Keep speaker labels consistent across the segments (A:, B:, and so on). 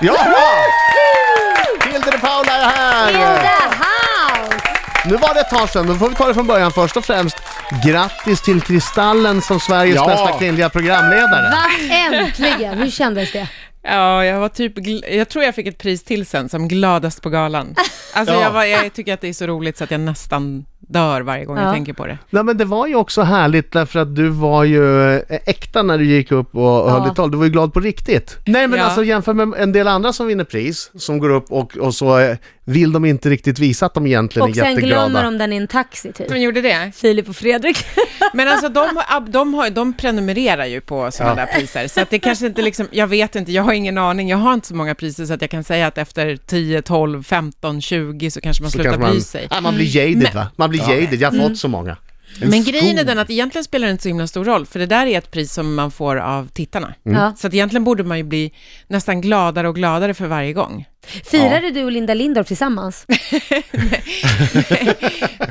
A: Ja, bra! Hilde de Paula är här!
B: In the house!
A: Nu var det ett tag sedan, då får vi ta det från början först och främst. Grattis till Kristallen som Sveriges
C: Ja.
A: bästa kvinnliga programledare.
B: Va? Äntligen! Hur kändes det?
D: Ja, jag var typ, gl- jag tror jag fick ett pris till sen som gladast på galan. Alltså
A: Ja.
D: jag, var, jag tycker att det är så roligt så att jag nästan dör varje gång
B: Ja.
D: jag tänker på det.
A: Nej men det var ju också härligt därför att du var ju eh, äkta när du gick upp och och höll ditt tal. Du var ju glad på riktigt. Nej men
D: Ja.
A: alltså jämför med en del andra som vinner pris, som går upp och, och så eh, vill de inte riktigt visa att de egentligen
B: Och
A: är
B: sen
A: jätteglada.
B: glömmer de den i en taxi typ.
D: De gjorde det?
B: Filip och Fredrik.
D: Men alltså de, har- ab- de, har, de prenumererar ju på sådana där priser, så att det kanske inte liksom, jag vet inte, jag har ingen aning, jag har inte så många priser så att jag kan säga att efter 10, 12, 15, 20 så kanske man
A: Så
D: slutar
A: kanske man,
D: bry sig.
A: Nej, man blir jaded va? Man blir jaded, jag har fått så många.
D: Men grejen är den att egentligen spelar det inte så himla stor roll, för det där är ett pris som man får av tittarna.
A: Mm.
B: Ja.
D: Så att egentligen borde man ju bli nästan gladare och gladare för varje gång.
B: Firade du och Linda Lindorff tillsammans?
D: Nej,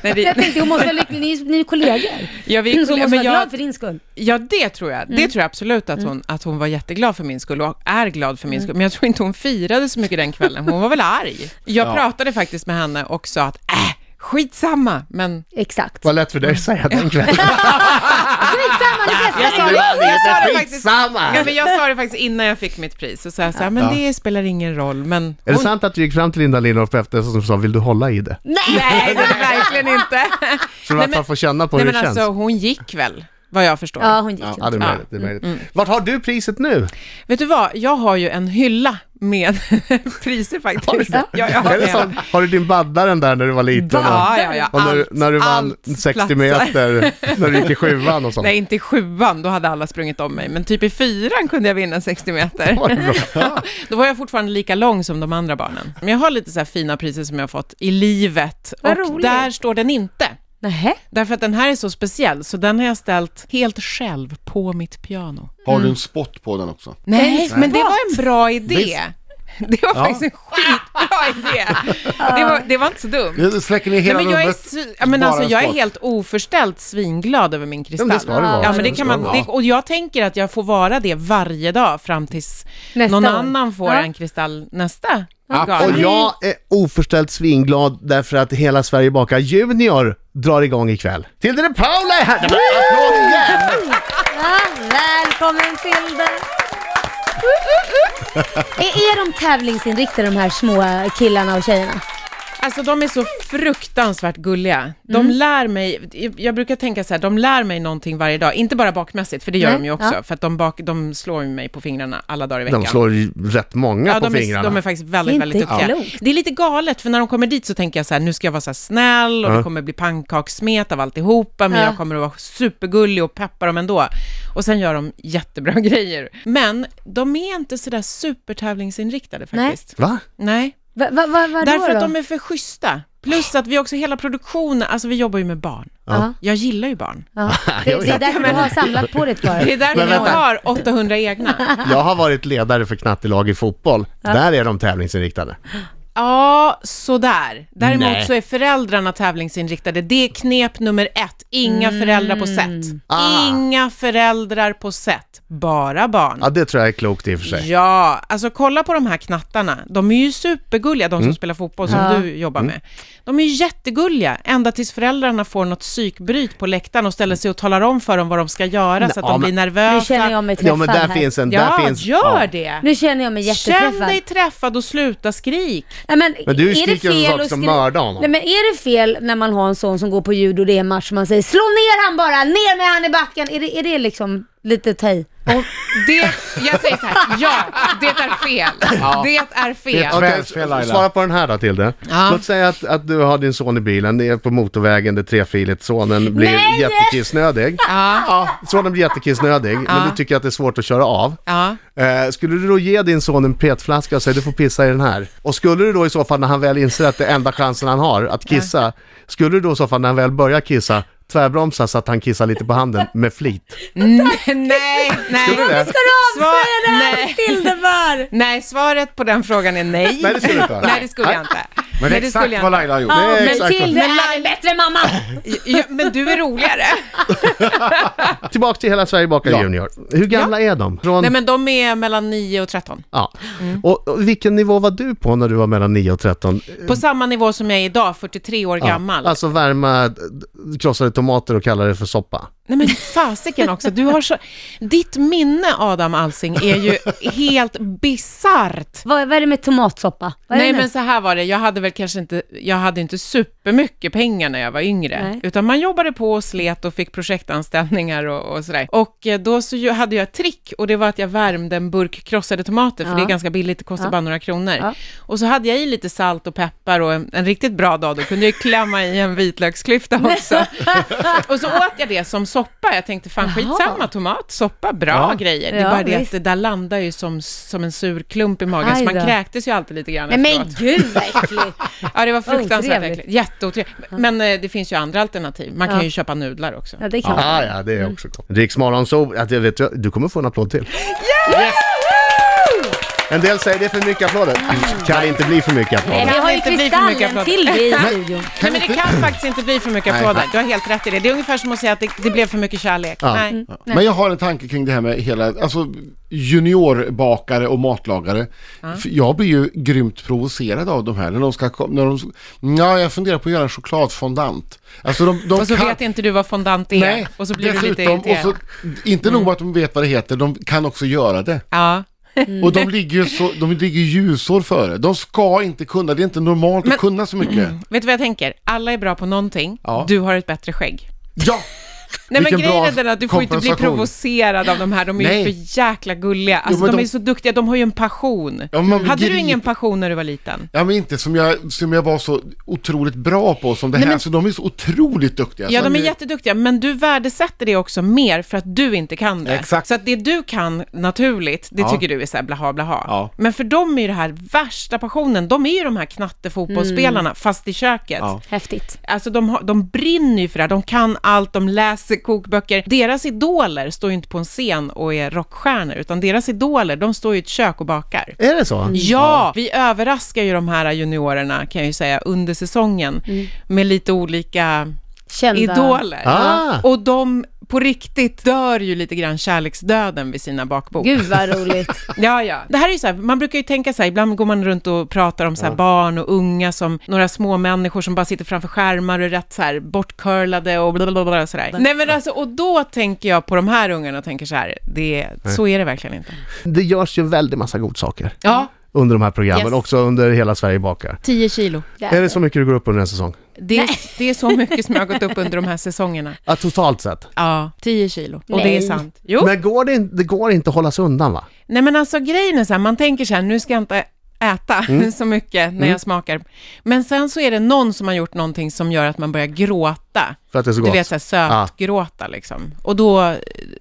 B: Jag
D: det,
B: tänkte, hon måste vara lycklig, ni, ni är kollegor.
D: ja, vi,
B: Så hon måste
D: men
B: vara glad
D: jag,
B: för din skull.
D: ja, det tror jag. Det tror jag absolut att hon, att hon var jätteglad för min skull och är glad för min skull. Men jag tror inte hon firade så mycket den kvällen. Hon var väl arg. Jag pratade faktiskt med henne och sa att äh, skitsamma, men
B: Exakt.
A: Vad lätt för dig att säga den kvällen.
B: Skitsamma, det
D: jag
B: bästa
D: sa
B: är
D: det, jag sa det faktiskt.
A: Skitsamma!
D: Ja, men jag sa det faktiskt innan jag fick mitt pris, och så jag så här, men det spelar ingen roll, men
A: Är det
D: hon
A: sant att du gick fram till Linda Lindorff efter och sa vill du hålla i det?
D: Nej, det är verkligen inte.
A: Så du i alla fall får känna på
D: Nej,
A: hur
D: men
A: det känns.
D: alltså, hon gick väl, vad jag förstår.
B: Ja, hon gick
A: Ja,
B: inte.
A: ja, det är möjligt. Det är
D: Mm,
A: möjligt. Vart har du priset nu?
D: Vet du vad, jag har ju en hylla med priser faktiskt. Ja, jag har
A: Är det
D: det.
A: sån, har du din baddaren där när du var liten? och-
D: Ja, ja, ja.
A: Och när, du-
D: Allt-
A: när du vann
D: allt
A: 60
D: platsar.
A: meter, när du gick i sjuan och sånt.
D: Nej, inte i sjuan, då hade alla sprungit om mig, men typ i fyran kunde jag vinna 60 meter.
A: Var det bra?
D: Då var jag fortfarande lika lång som de andra barnen. Men jag har lite så här fina priser som jag har fått i livet,
B: Vad
D: och
B: roligt.
D: där står den inte.
B: Nähä?
D: Därför att den här är så speciell, så den har jag ställt helt själv på mitt piano. Mm.
C: Har du en spot på den också?
D: Nej, men det var en bra idé. Det var faktiskt en skitbra idé. Det var, det var inte så dumt.
C: Det släcker ner
D: Nej,
C: hela
D: men jag, är,
C: rummet.
D: svi- ja, men
C: bara
D: alltså,
C: en
D: jag är
C: spot.
D: helt oförställt svinglad över min
A: Ja,
D: kristall.
A: men det ska det vara.
D: Ja, men det
A: Det
D: kan
A: ska
D: man,
A: det
D: det, och jag tänker att jag får vara det varje dag fram tills
B: Nästa
D: någon
B: år.
D: annan får
B: Ja.
D: en kristall nästa
A: Och
D: gala.
A: jag är oförställt svinglad därför att Hela Sverige bakar Junior drar igång ikväll. Tilde de Paula är här! Nej, men Applåd igen!
B: Ja, välkommen till det. Är, är de tävlingsinriktade de här små killarna och tjejerna?
D: Alltså de är så fruktansvärt gulliga. De
B: Mm.
D: lär mig, jag brukar tänka så här, de lär mig någonting varje dag. Inte bara bakmässigt, för det gör
B: Nej,
D: de ju också,
B: ja.
D: för att de, bak, de slår ju mig på fingrarna alla dagar i veckan.
A: De slår ju rätt många på
D: Ja, de är,
A: fingrarna.
D: de är faktiskt väldigt,
B: Inte
D: väldigt duktiga.
B: klokt.
D: Det är lite galet, för när de kommer dit så tänker jag så här, nu ska jag vara så här snäll och det kommer bli pannkakssmet av alltihopa, men
B: Ja.
D: jag kommer att vara supergullig och peppa dem ändå. Och sen gör de jättebra grejer. Men de är inte så där supertävlingsinriktade
B: Nej.
D: faktiskt.
A: Va?
D: Nej.
B: Va, va, va, vadå
D: Därför att
B: då?
D: de är för schyssta. Plus att vi också, hela produktionen, alltså vi jobbar ju med barn.
B: Ja.
D: Jag gillar ju barn.
B: Ja. Det, det är därför du har samlat på dig ett par.
D: Det är därför
A: Men
D: vi
A: vänta.
D: har 800 egna.
A: Jag har varit ledare för knattelag i fotboll. Där är de tävlingsinriktade.
D: Ja, sådär. Däremot
A: Nej.
D: så är föräldrarna tävlingsinriktade. Det är knep nummer ett. Inga
B: Mm.
D: föräldrar på set.
A: Ah.
D: Inga föräldrar på set. Bara barn.
A: Ja, det tror jag är klokt i och för sig.
D: Ja, alltså kolla på de här knattarna. De är ju supergulliga, de
A: Mm.
D: som spelar fotboll som
B: Ja.
D: du jobbar med. De är ju jättegulliga, ända tills föräldrarna får något psykbryt på läktaren och ställer sig och talar om för dem vad de ska göra så att
A: Mm. Ja,
D: de blir
A: men-
B: Nu
D: nervösa.
B: känner jag mig träffad
A: Ja, men där
B: här.
A: finns en...
D: ja,
A: Där finns,
D: gör
A: ja.
D: det!
B: Nu känner jag mig
D: Känn
B: jätteträffad.
D: dig träffad och sluta skrik.
B: Nej, men,
A: Men du
B: är det
A: skriker
B: fel
A: ju
B: att
A: saker som
B: skri-
A: mördar honom.
B: Nej men är det fel när man har en sån som går på judo och det är en match som man säger slå ner han bara, ner med han i backen. Är det, är det liksom lite att ta i?
D: Och det, jag säger så här, ja, det är fel. Det är fel.
C: Det är
A: Okej,
C: Kvällsfel, Laila.
A: svara på den här då Tilde.
D: Ja.
A: Låt säga att, att du har din son i bilen, ni är på motorvägen, det är trefiligt, sonen blir
B: Nej!
A: jättekissnödig.
D: Ja.
A: sonen blir jättekissnödig, men du tycker att det är svårt att köra av.
D: Ja.
A: Eh, skulle du då ge din son en petflaska och säga du får pissa i den här? Och skulle du då i så fall när han väl inser att det är enda chansen han har att kissa, skulle du då i så fall när han väl börjar kissa tvärbromsa så att han kissar lite på handen med flit?
D: Nej, nej.
A: Skulle du det?
B: Ska du
D: Svar-
B: avslöja det här
D: nej.
B: till det var?
D: Nej, svaret på den frågan är nej.
A: Nej, det skulle du inte ha.
D: Nej, det skulle jag inte.
C: Men det
D: Nej,
C: är
D: det
C: exakt
D: skulle jag
C: vad
D: inte.
C: Laila har gjort.
A: Ja.
B: Ja,
A: Nej,
B: men
A: exakt.
B: Tilde
D: Men
B: är en bättre mamma!
D: Ja, men du är roligare.
A: Tillbaka till Hela Sverige bakar
C: Ja.
A: junior. Hur gamla är de? Från,
D: Nej, men de är mellan 9 och 13.
A: ja. och, och vilken nivå var du på när du var mellan 9 och 13?
D: På samma nivå som jag är idag, 43 år gammal.
A: Ja, alltså värma d- d- krossade tomater och kalla det för soppa.
D: Nej men fasiken också, du har så... Ditt minne Adam Alsing är ju helt bisarrt.
B: Vad, vad är det med tomatsoppa? Vad är
D: Nej
B: det nu?
D: men så här var det, jag hade väl kanske inte, jag hade inte supermycket pengar när jag var yngre,
B: Nej.
D: utan man jobbade på och slet och fick projektanställningar och, och sådär. Och eh, då så ju- hade jag ett trick och det var att jag värmde en burk krossade tomater, för
B: Ja.
D: det är ganska billigt, det kostar
B: Ja.
D: bara några kronor.
B: Ja.
D: Och så hade jag i lite salt och peppar och en, en riktigt bra dag, då kunde jag ju klämma i en vitlöksklyfta också. och så åt jag det som soppa, jag tänkte fan skitsamma, tomat, soppa, bra
A: Ja.
D: grejer. Det är
B: Ja,
D: bara det
B: visst.
D: att det där landar ju som, som en sur klump i magen,
B: Aj
D: så man
B: då.
D: kräktes ju alltid lite grann
B: Nej men
D: efteråt.
B: gud vad äckligt!
D: Ja, det var fruktansvärt
B: Otrevligt.
D: äckligt. Jätteotrevligt. Men eh, det finns ju andra alternativ. Man kan ju köpa nudlar också.
B: Ja, det kan man.
A: Ja, ja, det är också gott. Riksmorgon, så, att jag vet, du kommer få en applåd till. Yes! En del säger det är för mycket applåder. Kan inte bli för mycket
B: Nej,
A: applåder.
B: vi
D: Kan
B: har
D: det
B: ju
D: inte bli för mycket
B: kristallen
D: applåd?
B: till dig i studion.
D: Nej, men det kan faktiskt inte bli för mycket
C: Nej.
D: applåder. Du har helt rätt i det. Det är ungefär som att säga att det, det blev för mycket kärlek.
A: Ja.
D: Nej.
C: Men jag har en tanke kring det här med hela, alltså juniorbakare och matlagare. För Jag blir ju grymt provocerad av de här när de ska, kom- när de, ja jag funderar på att göra en chokladfondant. Alltså de, de
D: Och så
C: kan,
D: vet inte du vad fondant är.
C: nej,
D: och så blir du lite Mm.
C: dessutom,
D: irriterad.
C: och så, Inte nog med att de vet vad det heter, de kan också göra det.
D: Ja. Mm.
C: Och de ligger ju så, de ligger ljusår före. De ska inte kunna, det är inte normalt
D: Men- Mm.
C: att kunna så mycket.
D: Vet du vad jag tänker? Alla är bra på någonting.
C: Ja.
D: Du har ett bättre skägg.
C: Ja!
D: Nej men
C: Vilken
D: grejen
C: bra
D: är den att du får inte bli
C: kompensation.
D: provocerad av de här, de är ju
C: Nej.
D: för jäkla gulliga. Alltså
C: men
D: de,
C: de-
D: är ju så duktiga, de har ju en passion.
C: Ja, men man blir
D: Hade du
C: grip-
D: ingen passion när du var liten?
C: Ja men inte som jag, som jag var så otroligt bra på som det här, så de är så otroligt duktiga.
D: Ja,
C: så
D: de är
C: Alltså, nu-
D: jätteduktiga, men du värdesätter det också mer för att du inte kan det.
C: Exakt.
D: Så att det du kan naturligt, det
C: Ja.
D: tycker du är så här blaha blaha.
C: Ja.
D: Men för dem är ju det här värsta passionen, de är ju de här knattefotbollsspelarna, fast i köket.
C: Mm. Ja.
B: Häftigt.
D: Alltså de, har, de brinner ju för det här, de kan allt, de läser kokböcker. Deras idoler står ju inte på en scen och är rockstjärnor, utan deras idoler, de står ju i ett kök och bakar.
C: Mm.
A: Är det så?
D: Mm. Ja, vi överraskar ju de här juniorerna, kan jag ju säga, under säsongen
C: Mm.
D: med lite olika
B: Kända.
D: idoler.
A: Ah.
D: Och de på riktigt dör ju lite grann kärleksdöden vid sina bakbord.
B: Gud vad roligt.
D: Ja, ja. Det här är ju så här, man brukar ju tänka så här, ibland går man runt och pratar om så här barn och unga som några små människor som bara sitter framför skärmar och är rätt så här bortcurlade och blablabla sådär. Nej men alltså, och då tänker jag på de här ungarna och tänker så här, det, så är det verkligen inte. Mm.
A: Det görs ju en väldig massa god saker
D: Ja,
A: under de här programmen,
D: Yes.
A: också under Hela Sverige bakar.
D: 10 kilo.
A: Är det så mycket du går upp under en säsong?
D: Det är, det är så mycket som jag har gått upp under de här säsongerna.
A: Ja, totalt sett.
D: Ja, 10 kilo. Och det
B: Nej.
D: är sant. Jo.
A: Men går det, in- det går inte att hålla sig undan va?
D: Nej men alltså grejen är så här, man tänker så här, nu ska jag inte äta
A: Mm.
D: så mycket när jag smakar. Men sen så är det någon som har gjort någonting som gör att man börjar gråta.
A: För att det är så
D: Du
A: gott.
D: vet så här
A: Ja.
D: sötgråta
A: Ah.
D: liksom. Och då eh,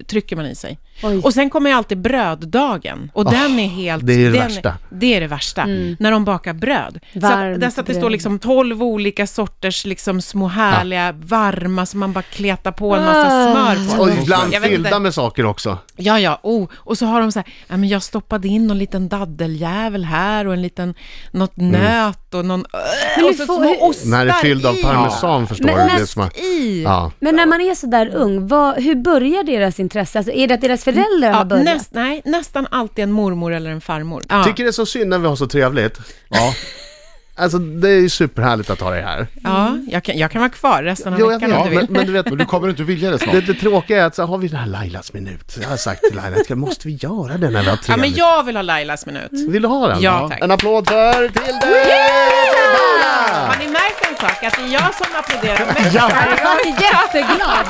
D: trycker man i sig.
B: Oj.
D: Och sen kommer ju alltid bröddagen. Och den är helt...
A: Ah, det är det
D: den,
A: värsta.
D: Det är det värsta. När de bakar bröd. Så
B: Mm. Varmt
D: att, dess att det
B: bröd.
D: står liksom tolv olika sorters liksom små härliga, varma, som man bara kletar på en massa
B: Ah.
D: smör på.
A: Ah. Och ibland
D: Jag vet inte.
A: fyllda med saker också.
D: Ja, ja, oh. och så har de så här, ja, men jag stoppade in någon liten daddeljävel här och en liten, något nöt och någon, och så
B: hur får-
D: små ostar
A: Den här Mm. är fylld av
D: i.
A: parmesan förstår
B: Men-
A: du.
B: men-
A: Det är som att-
D: I.
A: ja.
B: Men när man är så där ung, vad, hur börjar deras intresse? Alltså, är det att deras föräldrar
D: Ja,
B: har börjat?
D: näst, nej, nästan alltid en mormor eller en farmor. Ja.
A: Tycker det är så synd när vi har så trevligt.
C: Ja.
A: Alltså det är ju superhärligt att ha dig här.
D: ja, jag, kan, jag kan vara kvar resten av
A: Jo, jag
D: veckan
A: vet.
D: om
C: Ja,
D: du vill.
C: men, men du vet, men du kommer inte vilja det snart.
A: Det, det tråkiga är att så har vi den här Lailas minut. Jag har sagt till Laila, ska, måste vi göra den när vi har
D: Ja, men
A: trevligt?
D: jag vill ha Lailas minut.
A: Vill du ha den?
D: Ja, tack.
A: En applåd för Tilde! Mm.
D: Har ni märkt en sak? Att det är jag som applåderar mest.
B: Jag är jätteglad.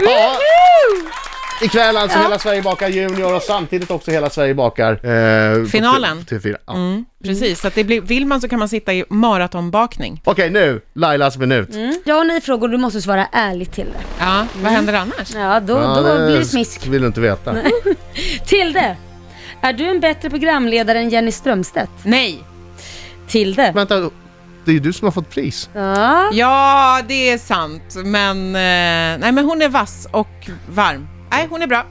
A: Ja. Ikväll alltså Hela Sverige bakar junior och samtidigt också Hela Sverige bakar... Eh, på
D: Finalen. Mm.
A: T- T4. Ja.
D: Precis, så att det blir, vill man så kan man sitta i maratonbakning.
A: Okej nu, Lailas minut.
B: Jag har ni frågor, du måste svara ärligt till det.
D: Ja, vad händer annars?
B: Ja, då,
A: Ja,
B: då blir det
A: sk-
B: smisk.
A: vill du inte veta.
B: Tilde, är du en bättre programledare än Jenny Strömstedt?
D: Nej.
B: Tilde.
A: Vänta, det är ju du som har fått pris.
B: Ja.
D: Ja, det är sant. Men, eh, nej, men hon är vass och varm. Nej, hon är bra.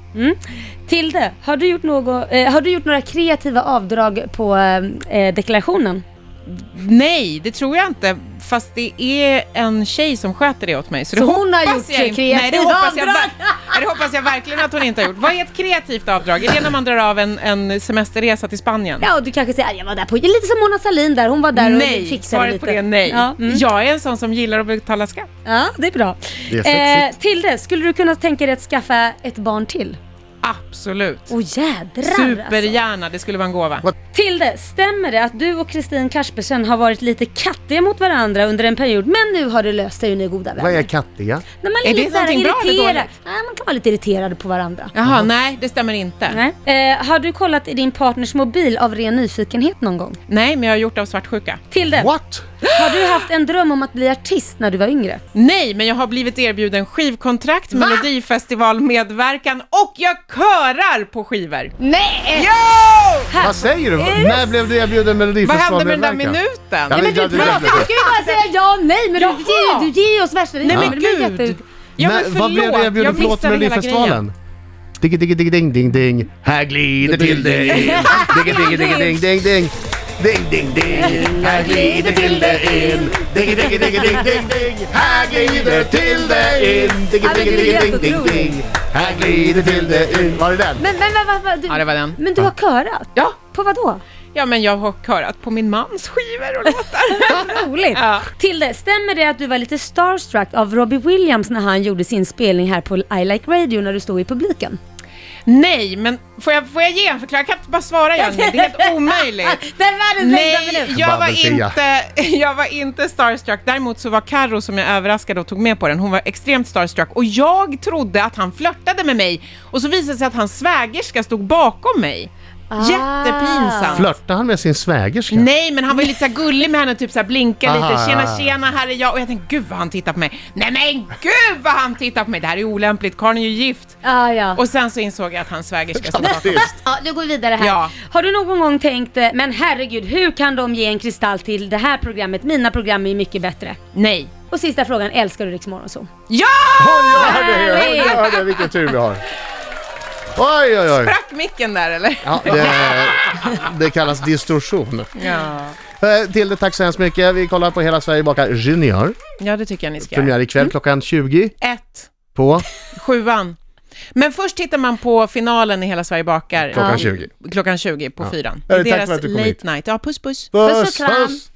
B: Tilde, har du, gjort något, eh, har du gjort några kreativa avdrag på eh, eh, deklarationen?
D: Nej, det tror jag inte. Fast det är en tjej som sköter det åt mig. Så,
B: Så
D: det
B: hon har
D: hoppas
B: gjort
D: jag inte-
B: kreativt
D: Nej, det hoppas, jag,
B: avdrag?
D: ver- Nej, det hoppas jag verkligen att hon inte har gjort. Vad är ett kreativt avdrag? Är det när man drar av en, en semesterresa till Spanien?
B: Ja, och du kanske säger "Ah, jag var där på, lite som Mona Sahlin där, hon var där och
D: Nej,
B: fixade
D: svaret
B: lite.
D: på det är nej.
B: Ja, mm.
D: Jag är en sån som gillar att betala skatt.
B: ja det är bra.
A: Det är sexigt.
B: Eh, Tilde, skulle du kunna tänka dig att skaffa ett barn till?
D: Absolut.
B: Åh jädrar alltså.
D: Supergärna, det skulle vara en gåva.
B: Tilde, stämmer det att du och Kristin Kaspersen har varit lite kattiga mot varandra under en period, men nu har det löst sig och ni är goda
A: Vad
B: vänner?
A: är kattiga?
B: När man är,
D: Är det
B: lite så här
D: någonting bra eller
B: irriterad.
D: dåligt?
B: Nej, man kan vara lite irriterad på varandra.
D: Jaha, nej, det stämmer inte. Nej.
B: Nej. Eh, har du kollat i din partners mobil av ren nyfikenhet någon gång?
D: men jag har gjort det av svartsjuka.
B: Tilde,
A: What?
B: har du haft en dröm om att bli artist när du var yngre?
D: Nej, men jag har blivit erbjuden skivkontrakt, melodifestivalmedverkan och jag körar på skivor.
B: Nej!
D: Jo!
A: Vad säger du?
B: Är det
A: När blev du erbjuden
D: Vad hände med den där
A: Melodifestivalmedverkan?
D: minuten?
A: Ja,
B: Men du
A: Jag hade
B: pratar,
A: glömt
B: du ska ju bara säga ja och nej, men du,
D: Jaha!
B: du, du ger ju oss värsta
D: Nej
B: Ja,
D: men
B: det blir jätte-
D: gud! Ja, men
A: När- Vad blev du
D: förlåt,
A: erbjuden
D: jag
A: för låt till
D: missade hela grejen.
A: Melodifestivalen? Digge, digge, digge, ding, ding, ding. Här glider till dig. Digge, digge, digge, ding, ding, ding. Ding, ding, ding. Här glider till dig in. Digge, digge, digge, ding, ding, ding. Här glider till dig in. Digge,
B: Ja, men
A: digge,
B: det är
A: digge, ding,
B: helt
A: ding,
B: otroligt.
A: ding. Här glider till dig in. Var det den?
B: Men, men, men, vad- vad- du,
D: Ja, det var den.
B: men du har körat?
D: Ja,
B: På vad då?
D: ja, men jag har körat på min mans skivor och låtar.
B: Roligt!
D: Ja.
B: Tilde, stämmer det att du var lite starstruck av Robbie Williams när han gjorde sin spelning här på I Like Radio när du stod i publiken?
D: Nej, men får jag, får jag ge en förklaring? Jag kan inte bara svara Jenny, det är helt omöjligt.
B: Det är världens längsta
D: Nej,
B: minut!
D: jag var,
A: Babbelfia.
D: inte, jag var inte starstruck. Däremot så var Karo som jag överraskade och tog med på den, hon var extremt starstruck. Och jag trodde att han flörtade med mig och så visade det sig att hans svägerska stod bakom mig. Jättepinsamt.
A: Flörtade han med sin svägerska?
D: Nej, men han var ju lite så här gullig med henne, typ så här blinka
A: Aha,
D: lite.
A: ja,
D: Tjena,
A: ja.
D: tjena, här är jag. Och jag tänkte, gud vad han tittar på mig. Nej men gud vad han tittar på mig. Det här är olämpligt, karln är ju gift.
B: Ah, ja.
D: Och sen så insåg jag att hans svägerska stod bakom.
A: Faktiskt.
B: Ja, nu går vi vidare här.
D: Ja.
B: Har du någon gång tänkt, eh, men herregud, hur kan de ge en kristall till det här programmet? Mina program är ju mycket bättre.
D: Nej.
B: Och sista frågan, älskar du Rix Morgonzoo?
D: Ja!
A: Hon gör det! Hon gör det! Vilken tur vi har. Oj, oj, oj.
D: Sprack micken där eller?
A: Ja, det, det kallas distorsion.
D: Ja.
A: Eh, Tilde, tack så hemskt mycket. Vi kollar på Hela Sverige bakar Junior.
D: Ja, det tycker jag ni ska göra.
A: Premiär ikväll klockan 20
D: Ett,
A: på
D: sjuan. Men först tittar man på finalen i Hela Sverige bakar.
A: klockan
D: Ja.
A: 20.
D: Klockan 20 på fyran.
A: Ja,
D: I
A: tack för
D: deras
A: att du kom
D: late
A: hit.
D: night. Ja, puss puss.
B: Puss och kram.